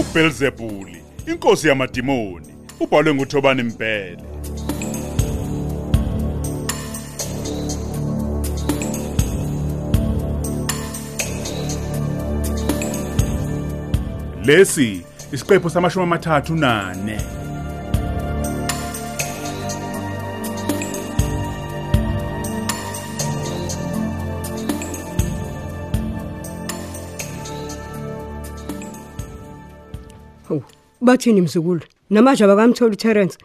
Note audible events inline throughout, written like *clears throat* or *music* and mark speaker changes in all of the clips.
Speaker 1: uBelzebuli, inkosi yamadimoni, ubhalwe nguThobani Mbhele. Lesi isiqephu samashumi amathathu nane.
Speaker 2: Hawu, bathini mzukulu? Namanje abakamthola uTerence.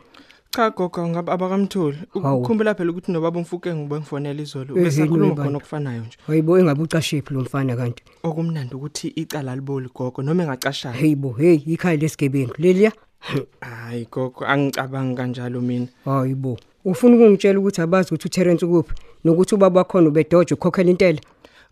Speaker 3: Cha gogo ngab- abakamtholi.
Speaker 2: Hawu.
Speaker 3: Ukukhumbula phela ukuthi nobaba umfuke ngibe ngifonela izolo
Speaker 2: Eh, yini
Speaker 3: besakhuluma
Speaker 2: webani?
Speaker 3: khona okufanayo nje.
Speaker 2: Hayibo engabucashephi lo mfana kanti.
Speaker 3: Okumnandi ukuthi icala liboli gogo noma engacashaya.
Speaker 2: Hayibo, hey, ikhaya lesigebengu leliya. *clears throat*
Speaker 3: Hayi gogo angicabangi kanjalo mina.
Speaker 2: Hayibo. Ufuna ukungitshela ukuthi abazi ukuthi uTerence ukuphi nokuthi ubaba wakho ubedoje ukhokhela intela?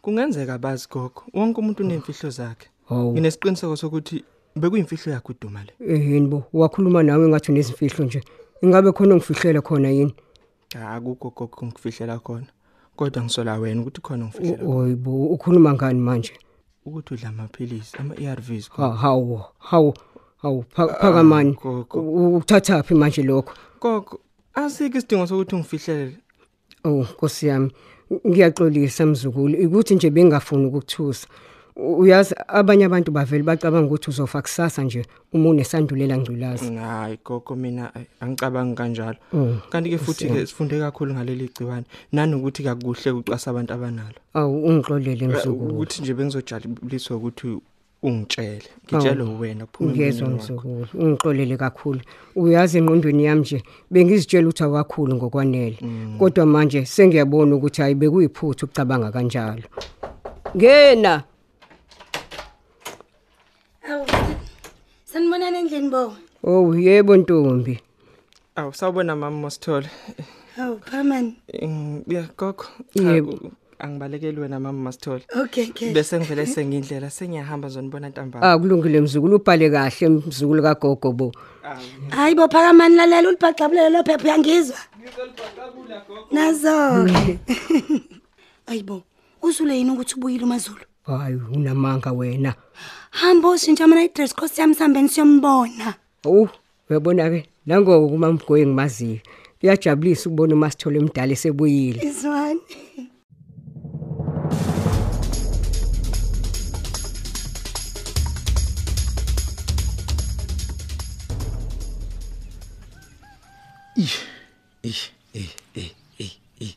Speaker 3: Kungenzeka bazi gogo. Wonke umuntu unemfihlo zakhe.
Speaker 2: Hawu.
Speaker 3: Nginesiqiniseko sokuthi bekuyimfihlo yakhe uduma le.
Speaker 2: Ehini bo, wakhuluma nawe ngathi unezimfihlo nje. Ingabe khona ongifihlela khona yini?
Speaker 3: Cha akukho gogo ngikufihlela khona. Kodwa ngisola wena ukuthi khona ngifihlela
Speaker 2: Hayibo, ukhuluma ngani manje?
Speaker 3: ukuthi udla amaphilisi ama ARVs. gogo.
Speaker 2: Ha- Hawu, hawu, hawu, pha- phakamani.
Speaker 3: gogo.
Speaker 2: U- Uthathaphi manje lokho?
Speaker 3: Gogo asike isidingo sokuthi ungifihlele.
Speaker 2: Oh Nkosi yami ngiyaxolisa mzukulu ukuthi nje bengafuni ukukuthusa U- uyazi abanye abantu bavele bacabanga ukuthi uzofa kusasa nje uma unesandulela ngculazi
Speaker 3: Hayi gogo mina ay, angicabangi kanjalo.
Speaker 2: Mm,
Speaker 3: Kanti ke futhi ke sifunde kakhulu ngaleli gciwane nanokuthi akukuhle ukucwasa abantu abanalo.
Speaker 2: awu ungixolele
Speaker 3: Eh,
Speaker 2: mzukulu
Speaker 3: Ukuthi nje bengizojaliswa ukuthi ungitshele. Ngitshele
Speaker 2: Oh.
Speaker 3: wena kuphuma
Speaker 2: ngiyezwa
Speaker 3: emlonyeni wakho.
Speaker 2: mzukulu ungixolele kakhulu uyazi engqondweni yami nje bengizitshela ukuthi awakakhulu ngokwanele kodwa manje sengiyabona ukuthi hayi bekuyiphutha ukucabanga kanjalo ngena
Speaker 4: Hawu. Sanibonana endlini bo.
Speaker 2: oh yebo ntombi
Speaker 3: Awu sawubona mama Mosthole.
Speaker 4: Hawu, phamani.
Speaker 3: Yeah gogo.
Speaker 2: Yebo.
Speaker 3: Yebo. Angibalekeli wena mama Mosthole.
Speaker 4: Okay, okay.
Speaker 3: Bese ngivele sengindlela sengiyahamba zonibona ntambama.
Speaker 2: akulungile mzukulu ubhale kahle mzukulu kagogo bo
Speaker 4: Hayi bo phakamani lalela ulibhaxabulele lo phepha uyangizwa. *laughs* Nazo. Ayibo. Usule yini ukuthi ubuyile uMazulu?
Speaker 2: hayi unamanga wena
Speaker 4: Hamba ushintsha mina i-dress code yami sihambeni siyombona.
Speaker 2: awu uyabona-ke nangoku umamgoyi engimaziyo kuyajabulisa ukubona umasithole emdala esebuyile
Speaker 4: Izwani.
Speaker 5: Eh eh eh eh eh.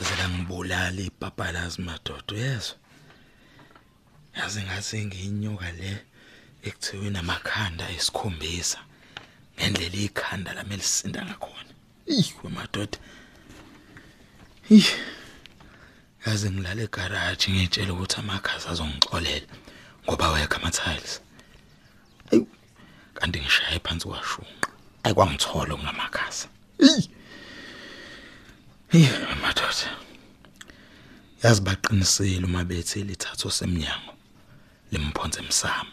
Speaker 5: Zela ngibulala ibhabhalazi madodo yezwa. Yazi ngase nginyoka le ekuthiwa namakhanda esikhombisa. Ngendlela ikhanda lami elisinda ngakhona. Ihwe madodo. Eh. Yazi ngilale egarage ngitshela ukuthi amakhaza azongixolela ngoba wekha ama tiles. Ayu kanti ngishaye phansi kwashunqa. Ayikwangithola ngamakhaza. Hey madoda. Yazi baqinisile uma bethi lithatho semnyango limphonze emsamo.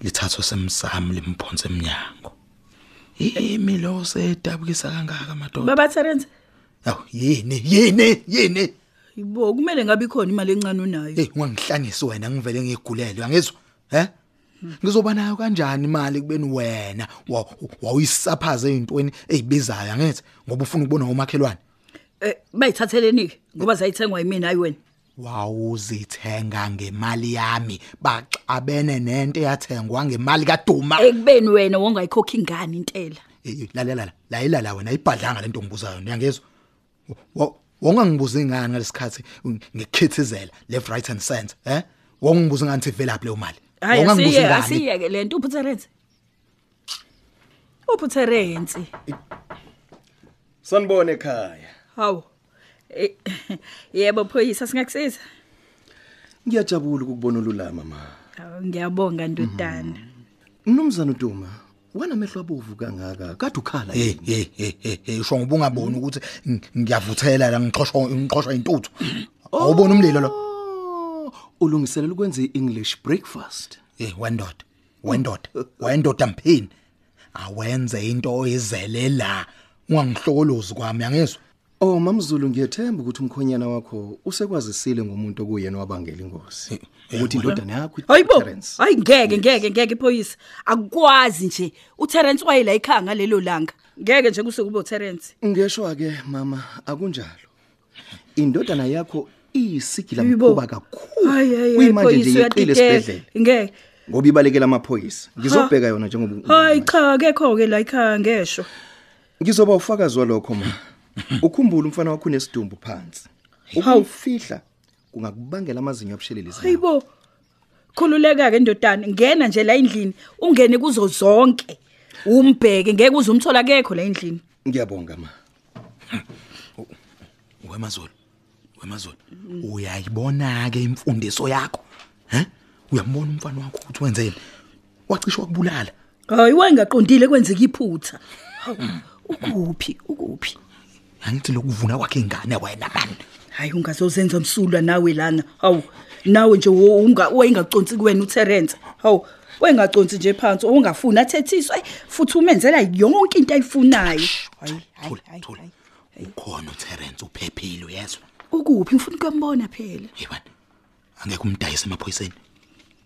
Speaker 5: Lithatho semsamo limphonze emnyango. Yimi lo sedabukisa kangaka madoda.
Speaker 6: Baba Terence,
Speaker 5: Yaw yini yini yini?
Speaker 6: ibo kumele ngabe ikhona imali encane unayo.
Speaker 5: Hey ungangihlangisi Eh, wena ngivele ngigulelwe angizwa? He? Ngizoba nayo kanjani imali kubeni wena wa- wawuyisaphaza ezintweni ezibizayo angithi ngoba ufuna ukubona umakhelwane.
Speaker 6: Eh bayithatheleni ke ngoba zayithengwa yimina hayi wena.
Speaker 5: wawuzithenga ngemali yami baxabene nento eyathengwa ngemali kaduma
Speaker 6: Ekubeni wena wongayikhokhi ingane intela.
Speaker 5: Eh, lalela la, layila la wena ibhadlanga lento ngibuzayo ngiyangezwa Wa- wawungangibuza ingane ngalesikhathi ngikhithizela left right and center eh wawungibuza ingane sivelaphi leyo mali
Speaker 6: Hayi
Speaker 5: Wawungangibuza
Speaker 6: asiye
Speaker 5: ingane.
Speaker 6: asiye ke lento uphu Terence. Uphu Terence.
Speaker 7: Sanibona ekhaya.
Speaker 6: Hawu. Eh, *laughs* Yebo phoyisa singakusiza.
Speaker 7: Ngiyajabula ukubona ululama ma.
Speaker 6: Hawu ngiyabonga ndodana.
Speaker 7: Mnumzana Duma, wana mehlo abovu kangaka? Kade ukhala
Speaker 5: hey
Speaker 7: yini?
Speaker 5: hey hey, hey hey usho ngoba ungaboni ukuthi ng- ngiyavuthela la ngixoshwa ngixoshwa intuthu awubona umlilo lo
Speaker 7: Oh, ulungiselela ukwenza iEnglish breakfast.
Speaker 5: hey wendoda wendoda wendoda mphini awenze into oyizelela ungangihlokolozi kwami angizwa
Speaker 7: Oh mamzulu ngiyethemba ukuthi umkhonyana wakho usekwazisile ngomuntu okuyena wabangela ingozi ukuthi indodana yakho i-
Speaker 6: hayibo
Speaker 7: Terence.
Speaker 6: hayi ngeke ngeke ngeke iphoyisa akukwazi nje uterence wayela ikhaya ngalelo langa ngeke nje kusuke ube uterence
Speaker 7: Ngesho ke mama akunjalo. Indodana yakho iyisigila
Speaker 6: Yibo.
Speaker 7: mkhuba kakhulu.
Speaker 6: Hayi, hayi, hayi,
Speaker 7: Kuyimanje nje
Speaker 6: Phoyisa,
Speaker 7: iqile
Speaker 6: uyatitela.
Speaker 7: esibhedlela
Speaker 6: ngeke
Speaker 7: ngoba ibalekela amaphoyisa. Ngizobheka yona njengoba
Speaker 6: hayi cha akekho-ke la ikhaya ngesho
Speaker 7: Ngizoba ufakazi walokho ma. Ukhumbule umfana wakho unesidumbu phansi.
Speaker 6: Hawu.
Speaker 7: Ukufihla kungakubangela amazinyo abushelelisa.
Speaker 6: hayibo khululeka-ke ndodana ngena nje la endlini ungene kuzo zonke umbheke ngeke uze umthola akekho la endlini
Speaker 7: Ngiyabonga ma.
Speaker 5: wemazulu wemazulu uyayibona ke imfundiso yakho he uyambona umfana wakho ukuthi wenzeni wacishwa kubulala
Speaker 6: hayi wayengaqondile kwenzeka iphutha Hawu, ukuphi ukuphi
Speaker 5: angithi lokuvuna kwakhe ingane wena mani
Speaker 6: hayi ungazozenza msulwa nawe lana hawu nawe nje wo- unga- wayengaconsi kuwena uterence hawu wayengaconsi nje phansi owungafuni athethiswe ayi, futhi umenzela yonke into ayifunayo Hayi, hayi,
Speaker 5: thula
Speaker 6: hayi,
Speaker 5: thula
Speaker 6: hayi.
Speaker 5: ukhona uTerence uphephile uyezwa
Speaker 6: ukuphi ngifuna ukuyambona phela
Speaker 5: yebani angeke umdayise emaphoyiseni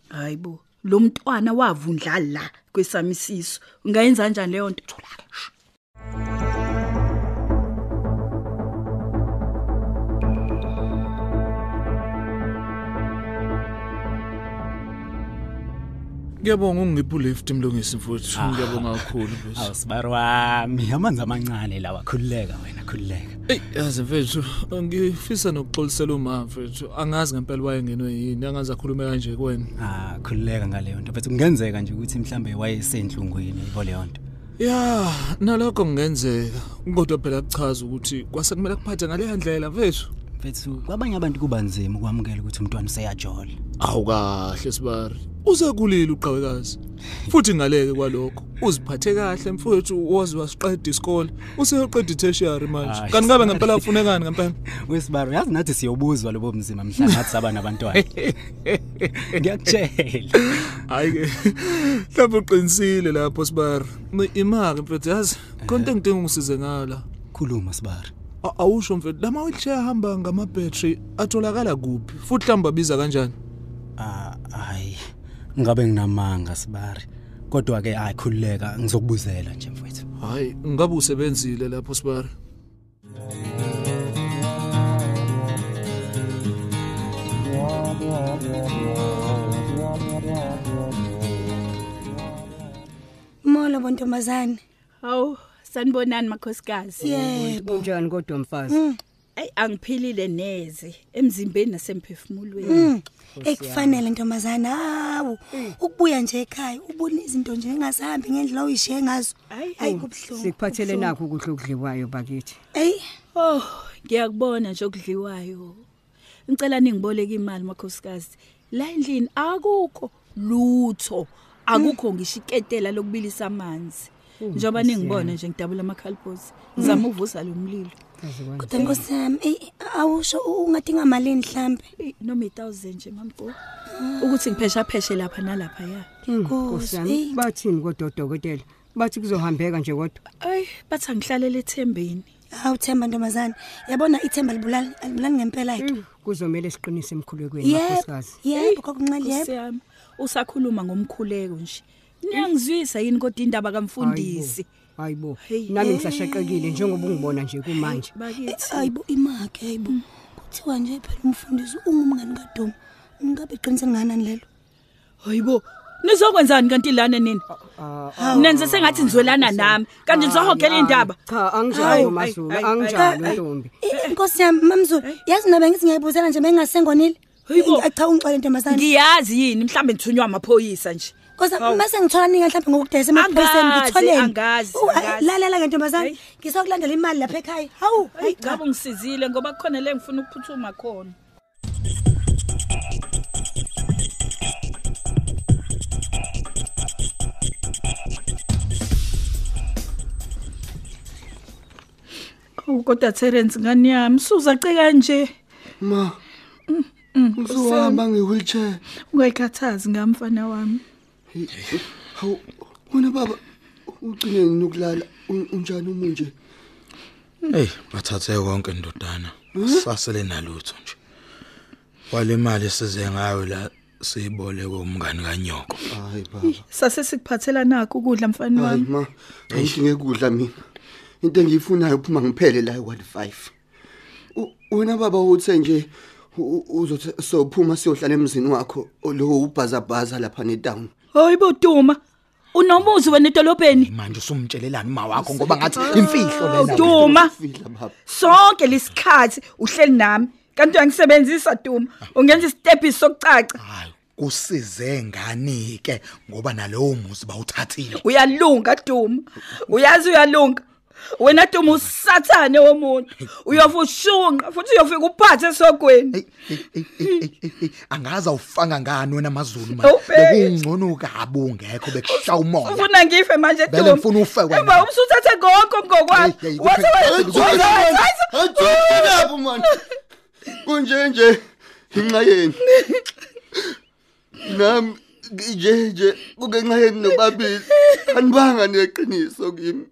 Speaker 6: hayi bo lo mntwana wavundla la kwesami isiso ungayenza kanjani leyo nto
Speaker 8: Ngiyabonga ungiphu lift mlungisi mfuthu. Ngiyabonga kakhulu mfuthu.
Speaker 9: Awusibari wami, amanzi amancane lawa khululeka wena khululeka.
Speaker 8: Ey, yazi mfethu, ngifisa nokuxolisela uma mfethu. Angazi ngempela wayengenwe yini, angazi akhulume kanje kuwena.
Speaker 9: Ah, khululeka ngaleyo nto. Mfethu kungenzeka nje ukuthi mhlambe wayesenhlungwini ibo leyo nto.
Speaker 8: Ya, nalokho kungenzeka. Kodwa phela kuchaza ukuthi kwase kumele kuphathe ngale ndlela mfethu.
Speaker 9: Mfethu kwabanye abantu kuba nzima ukwamukela ukuthi umntwana useyajola.
Speaker 8: Awu kahle sibari. Uzakulila uqhawekazi. Futhi ngaleke kwalokho, uziphathe kahle mfowethu, wazi wasiqeda isikole, useyoqeda i-tertiary manje.
Speaker 9: Hayi,
Speaker 8: Kanti ngabe
Speaker 9: Sibari.
Speaker 8: ngempela ufunekani ngempela?
Speaker 9: Wesibari, yazi nathi siyobuzwa lobo mzima mhla ngathi saba *laughs* nabantwana. Ngiyakutshela.
Speaker 8: hayi ke mhlawumbe uqinisile lapho sibari Mi- imali mfethu yazi konke engidinga ungisize ngayo la
Speaker 9: Khuluma sibari.
Speaker 8: A- awusho mfethu lama wheelchair ahamba ngamabhetri atholakala kuphi futhi mhlawumbe abiza kanjani
Speaker 9: Ah, hayi. Ngabe nginamanga sibari. Kodwa ke hayi khululeka ngizokubuzela nje mfethu.
Speaker 8: hhayi ngabe usebenzile lapho sibari
Speaker 4: Molo bontombazane.
Speaker 6: hawu sanibonani makhosikazi
Speaker 4: Yebo.
Speaker 2: unjani kodwa
Speaker 6: Mm,
Speaker 2: mfazi
Speaker 6: ayi angiphilile neze emzimbeni nasemphefumulweni
Speaker 4: Ekufanele ntombazana hawu ukubuya nje ekhaya ubone izinto nje engasahambi ngendlela oyishiye ngazo.
Speaker 6: Ayi,
Speaker 4: Hayi kubhlungu.
Speaker 2: sikuphathele
Speaker 4: kubuhlungu.
Speaker 2: nakho ukudla okudliwayo bakithi
Speaker 4: Ey,
Speaker 6: Oh, ngiyakubona nje okudliwayo. Ngicela ningiboleke imali makhosikazi. La endlini akukho lutho. Akukho ngishiketela lokubilisa amanzi. Njoba ningibona nje ngidabula amakhaliphosi. Ngizama uvusa lo mlilo.
Speaker 4: kodwa nkosi yami, ey awusho u- ungadinga imali mhlambe.
Speaker 6: Eyi, Noma 1000 nje mambo. Ukuthi ngiphesha pheshe lapha nalapha ya.
Speaker 2: Mm,
Speaker 4: Nkosi.
Speaker 2: kusami
Speaker 4: Ey,
Speaker 2: bathini kodwa odokotela bathi kuzohambeka nje kodwa
Speaker 6: Ay, bathi angihlalele ethembeni.
Speaker 4: awuthemba ntombazana. Yabona ithemba libulali, alibulali ngempela
Speaker 6: Mm.
Speaker 4: ke.
Speaker 2: kuzomela siqinise emkhulekweni
Speaker 4: Yebo.
Speaker 2: makhosikazi
Speaker 4: Yebo, kokuncela
Speaker 6: Nkosi
Speaker 4: yebo.
Speaker 6: yami, usakhuluma ngomkhuleko nje. Niyangizwisa yini kodwa indaba kamfundisi?
Speaker 2: hayibo
Speaker 6: Hey,
Speaker 2: nami ngisashaqekile njengoba ungibona nje kumanje
Speaker 6: Bakithi.
Speaker 4: Hayibo imake hayibo. Kuthiwa nje phela umfundisi ungumngani kaDuma. Ngabe iqinise nganani lelo?
Speaker 6: Hayibo, nizokwenzani kanti lana nini? Nenze sengathi nizwelana nami, kanti nizohogela indaba.
Speaker 2: cha
Speaker 6: Hayi,
Speaker 2: anginjalo mazulu
Speaker 6: hayi, hayi,
Speaker 2: anginjalo
Speaker 6: hayi,
Speaker 2: ntombi
Speaker 4: Eh, Nkosi yami mamzulu,
Speaker 6: Eh.
Speaker 4: yazi nabe ngithi ngiyayibuzela nje bengasengonile.
Speaker 6: Hayibo.
Speaker 4: Eh, Cha ungixolele ntombazana.
Speaker 6: Ngiyazi yini mhlambe nithunywa amaphoyisa nje.
Speaker 4: Kosa mase ngithola ninga mhlawumbe ngokudayisa emaphoyiseni
Speaker 6: Angazi,
Speaker 4: ngitholeni.
Speaker 6: angazi,
Speaker 4: Oh, hayi,
Speaker 6: angazi.
Speaker 4: Lalela ke ntombazana,
Speaker 6: Hey.
Speaker 4: ngisokulandela imali lapha ekhaya. Hawu,
Speaker 6: Hayi cha ungisizile ngoba kukhona le ngifuna ukuphuthuma khona. Oh kodwa Terence ngani yami suza ce kanje Mm,
Speaker 7: Ma. Uzohamba ngewheelchair.
Speaker 6: ungayikhathazi ngamfana wami
Speaker 7: Hawu, wena baba ugcine nokulala unjani umunje?
Speaker 5: Hey, bathathe konke ndodana. Sasele nalutho nje. Wale mali size ngayo la siyiboleke umngani kanyoko.
Speaker 7: hayi baba
Speaker 6: Sase sikuphathela nakho ukudla mfana
Speaker 10: hayi
Speaker 6: wami.
Speaker 10: ma ayidinge kudla mina into engiyifunayo uphuma ngiphele la e-1 5 wena baba uthe nje u- u- uzothi sophuma siyohlala emzini wakho lo ubhazabhaza lapha ne-down
Speaker 6: Hayi boduma. Unomuzi wena edolobheni.
Speaker 5: Manje usumtshelelani uma wakho ngoba ngathi imfihlo lena.
Speaker 6: Duma.
Speaker 10: fila baba
Speaker 6: Sonke lesikhathi uhleli nami. Kanti uyangisebenzisa Duma. Ungenza isitepi sokucaca.
Speaker 5: Hayi, kusize ngani ke ngoba nalowo muzi bawuthathile.
Speaker 6: Uyalunga Duma. Uyazi uyalunga. Wena Duma usathane womuntu. Uyofushunqa futhi uyofika uphathe sogweni.
Speaker 5: Hey, hey, hey, hey, hey, hey, hey, angaza ufanga eh, ngani wena maZulu manje.
Speaker 6: Awubheki.
Speaker 5: Bekungcono ukabungekho bekushaya umoya.
Speaker 6: Ufuna ngife manje
Speaker 5: Vele
Speaker 6: Duma.
Speaker 5: ngifuna ufe wena.
Speaker 6: Emva umsuthathe konke
Speaker 5: Hey, hey,
Speaker 6: ngokwakho. Wathi
Speaker 5: kuphela-
Speaker 6: wena.
Speaker 10: ajoapo mani kunje nje inxa yenu nami nje nje kungenxa yenu nobabili anibanga neqiniso kimi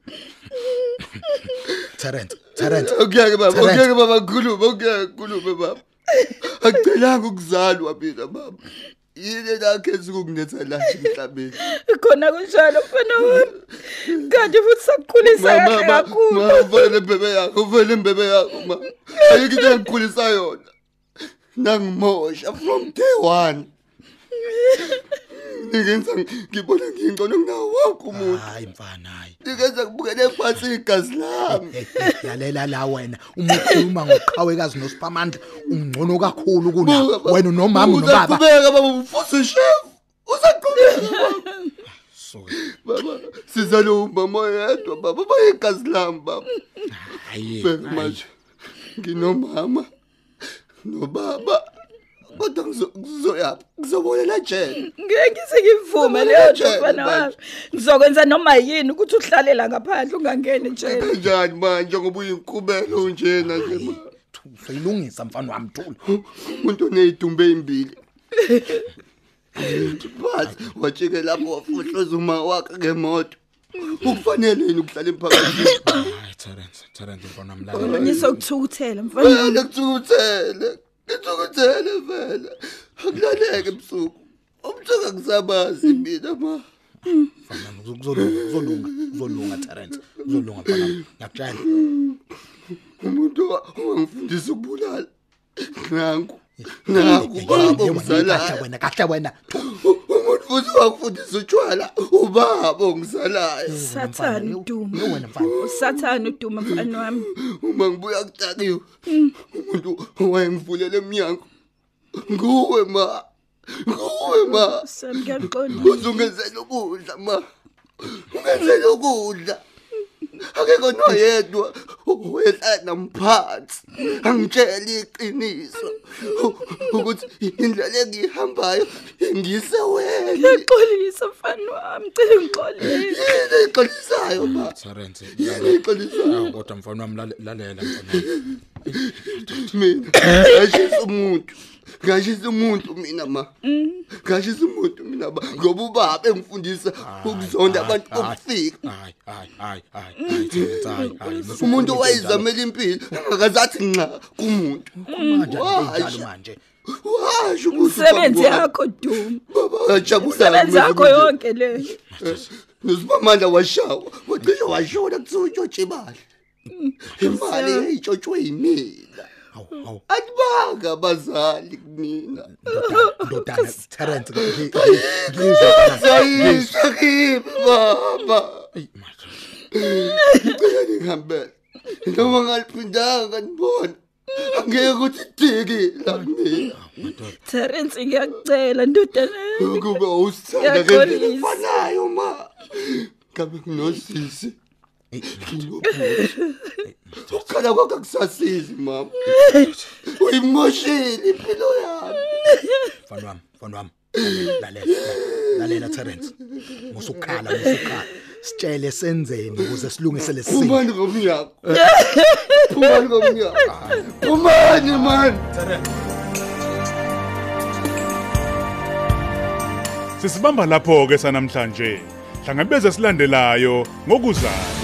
Speaker 5: Terence, Terence.
Speaker 10: okuyake baba
Speaker 5: Terence.
Speaker 10: okuyake baba khuluma okuyake khulume baba akucelanga ukuzalwa mina baba yini enakhetha ukunginetha la nje emhlabeni
Speaker 6: Khona kunjalo mfana wami. Kanti futhi sakukhulisa
Speaker 10: mama
Speaker 6: kahle
Speaker 10: mama
Speaker 6: kakhulu.
Speaker 10: mama, ufanele imbebe yakho ufanele imbebe yakho ma ayikho into engikhulisa yona nangimosha from day one ningenza ngibone ngiyingcono kunawo wonke umuntu
Speaker 5: Hayi mfana hayi.
Speaker 10: ningenza ngibukele phansi igazi lami
Speaker 5: Hey, hey, Eh, Lalela la wena uma ukhuluma ngoqhawekazi nosiphamandla ungcono kakhulu kuna wena nomama nobaba
Speaker 10: uzaqhubeka baba umfuzi chef uzaqhubeka baba sizalo umama yedwa baba bayegazi lami baba
Speaker 5: Hayi,
Speaker 10: bheka manje nginomama nobaba kodwa ngizo- ngizoyapha ngizobolela jele
Speaker 6: Ngeke ngise ngivume leyo nto mfana wami. Ngizokwenza noma yini ukuthi uhlale la ngaphandle ungangeni njena.
Speaker 10: kanjani manje ngoba uyinkubelo unjena nje ma.
Speaker 5: uzoyilungisa mfana wami thula
Speaker 10: umuntu oneyidumbe ezimbili bathi wajike lapho wafuhluza uma wakhe ngemoto ukufanele yini ukuhlala emphakathini
Speaker 5: hayi Terence Terence mfana wami lalela
Speaker 6: Ngizokuthukuthela mfana. wami.
Speaker 10: vele kuthukuthele ngithukuthele vele akulaleke ebusuku umthuka ngisabazi mina ma
Speaker 5: mfana wami, kuzo- kuzolunga kuzolunga kuzolunga Terence kuzolunga mfana wami ngiyakutshela
Speaker 10: umuntu owa- owangifundisa ukubulala nanku nanku
Speaker 5: Hey,
Speaker 10: baba
Speaker 5: hey, wena, kahle
Speaker 10: ongizalayo
Speaker 5: wena kahle wena Thula,
Speaker 10: U- umuntu futhi wangifundisa utshwala ubaba ongizalayo
Speaker 6: Sathane uduma.
Speaker 5: wena mfana
Speaker 6: Usathane uduma mfana wami.
Speaker 10: uma ngibuya kutakiwe umuntu owayengivulela emnyango nguwe ma nguwe ma
Speaker 6: Sami ngiyaqonda.
Speaker 10: uzungenzela ukudla ma ungenzela ukudla akekho noyedwa oyehlala namphansi angitshele iqiniso u- ukuthi indlela engiyihambayo ngise wena
Speaker 6: Ngixolisa mfana wami. Ngicela ngixolisa.
Speaker 10: yini ixolisayo ma
Speaker 5: Terence
Speaker 10: yini ixolisayo
Speaker 5: hawu, kodwa mfana wami lale- lalela mfana wami
Speaker 10: mina ngashisa umuntu ngashisa umuntu mina ma ngashisa umuntu mina ba ngoba ubaba engifundisa ukuzonda
Speaker 5: Ah,
Speaker 10: abantu bokufika
Speaker 5: hayi hayi hayi hayi hayi Terence hayi hayi
Speaker 10: umuntu owayizamela impilo akazathi nxa kumuntu
Speaker 5: manje
Speaker 10: Washo.
Speaker 5: manje
Speaker 10: washo ukuthi
Speaker 6: Umsebenzi yakho Duma. Umsebenzi yakho
Speaker 10: babajabulayo
Speaker 6: yonke leyo.
Speaker 10: nosibamandla washawa wacishe washona kuthiwa utshotshe imali imali eyayitshotshwe yimina
Speaker 5: hawu hawu
Speaker 10: anibanga abazali kumina
Speaker 5: ndodana- ndodana Terence ngi- ngi- ngizwa mfana wami.
Speaker 10: sayisha kimi baba ngicela ningihambele noma ngaliphindanga nibona angeke ukuthi dikila kumina
Speaker 6: Terence ngiyacela ndodana. yami.
Speaker 10: ukuba usithanda ngendlela efanayo ma ngabe kunosisi nginobhuti ukukhala kwakho akusasizi mama uyimoshile impilo yami
Speaker 5: mfana wami mfana wami lalela, lalela lalela Terence musukhala musukhala sitshele senzeni ukuze silungise lesimo
Speaker 10: phumani ngomnyaka phumani ngomnyaka phumani mani
Speaker 1: Sisibamba lapho ke sanamhlanje. Hlangabeze silandelayo ngokuzayo.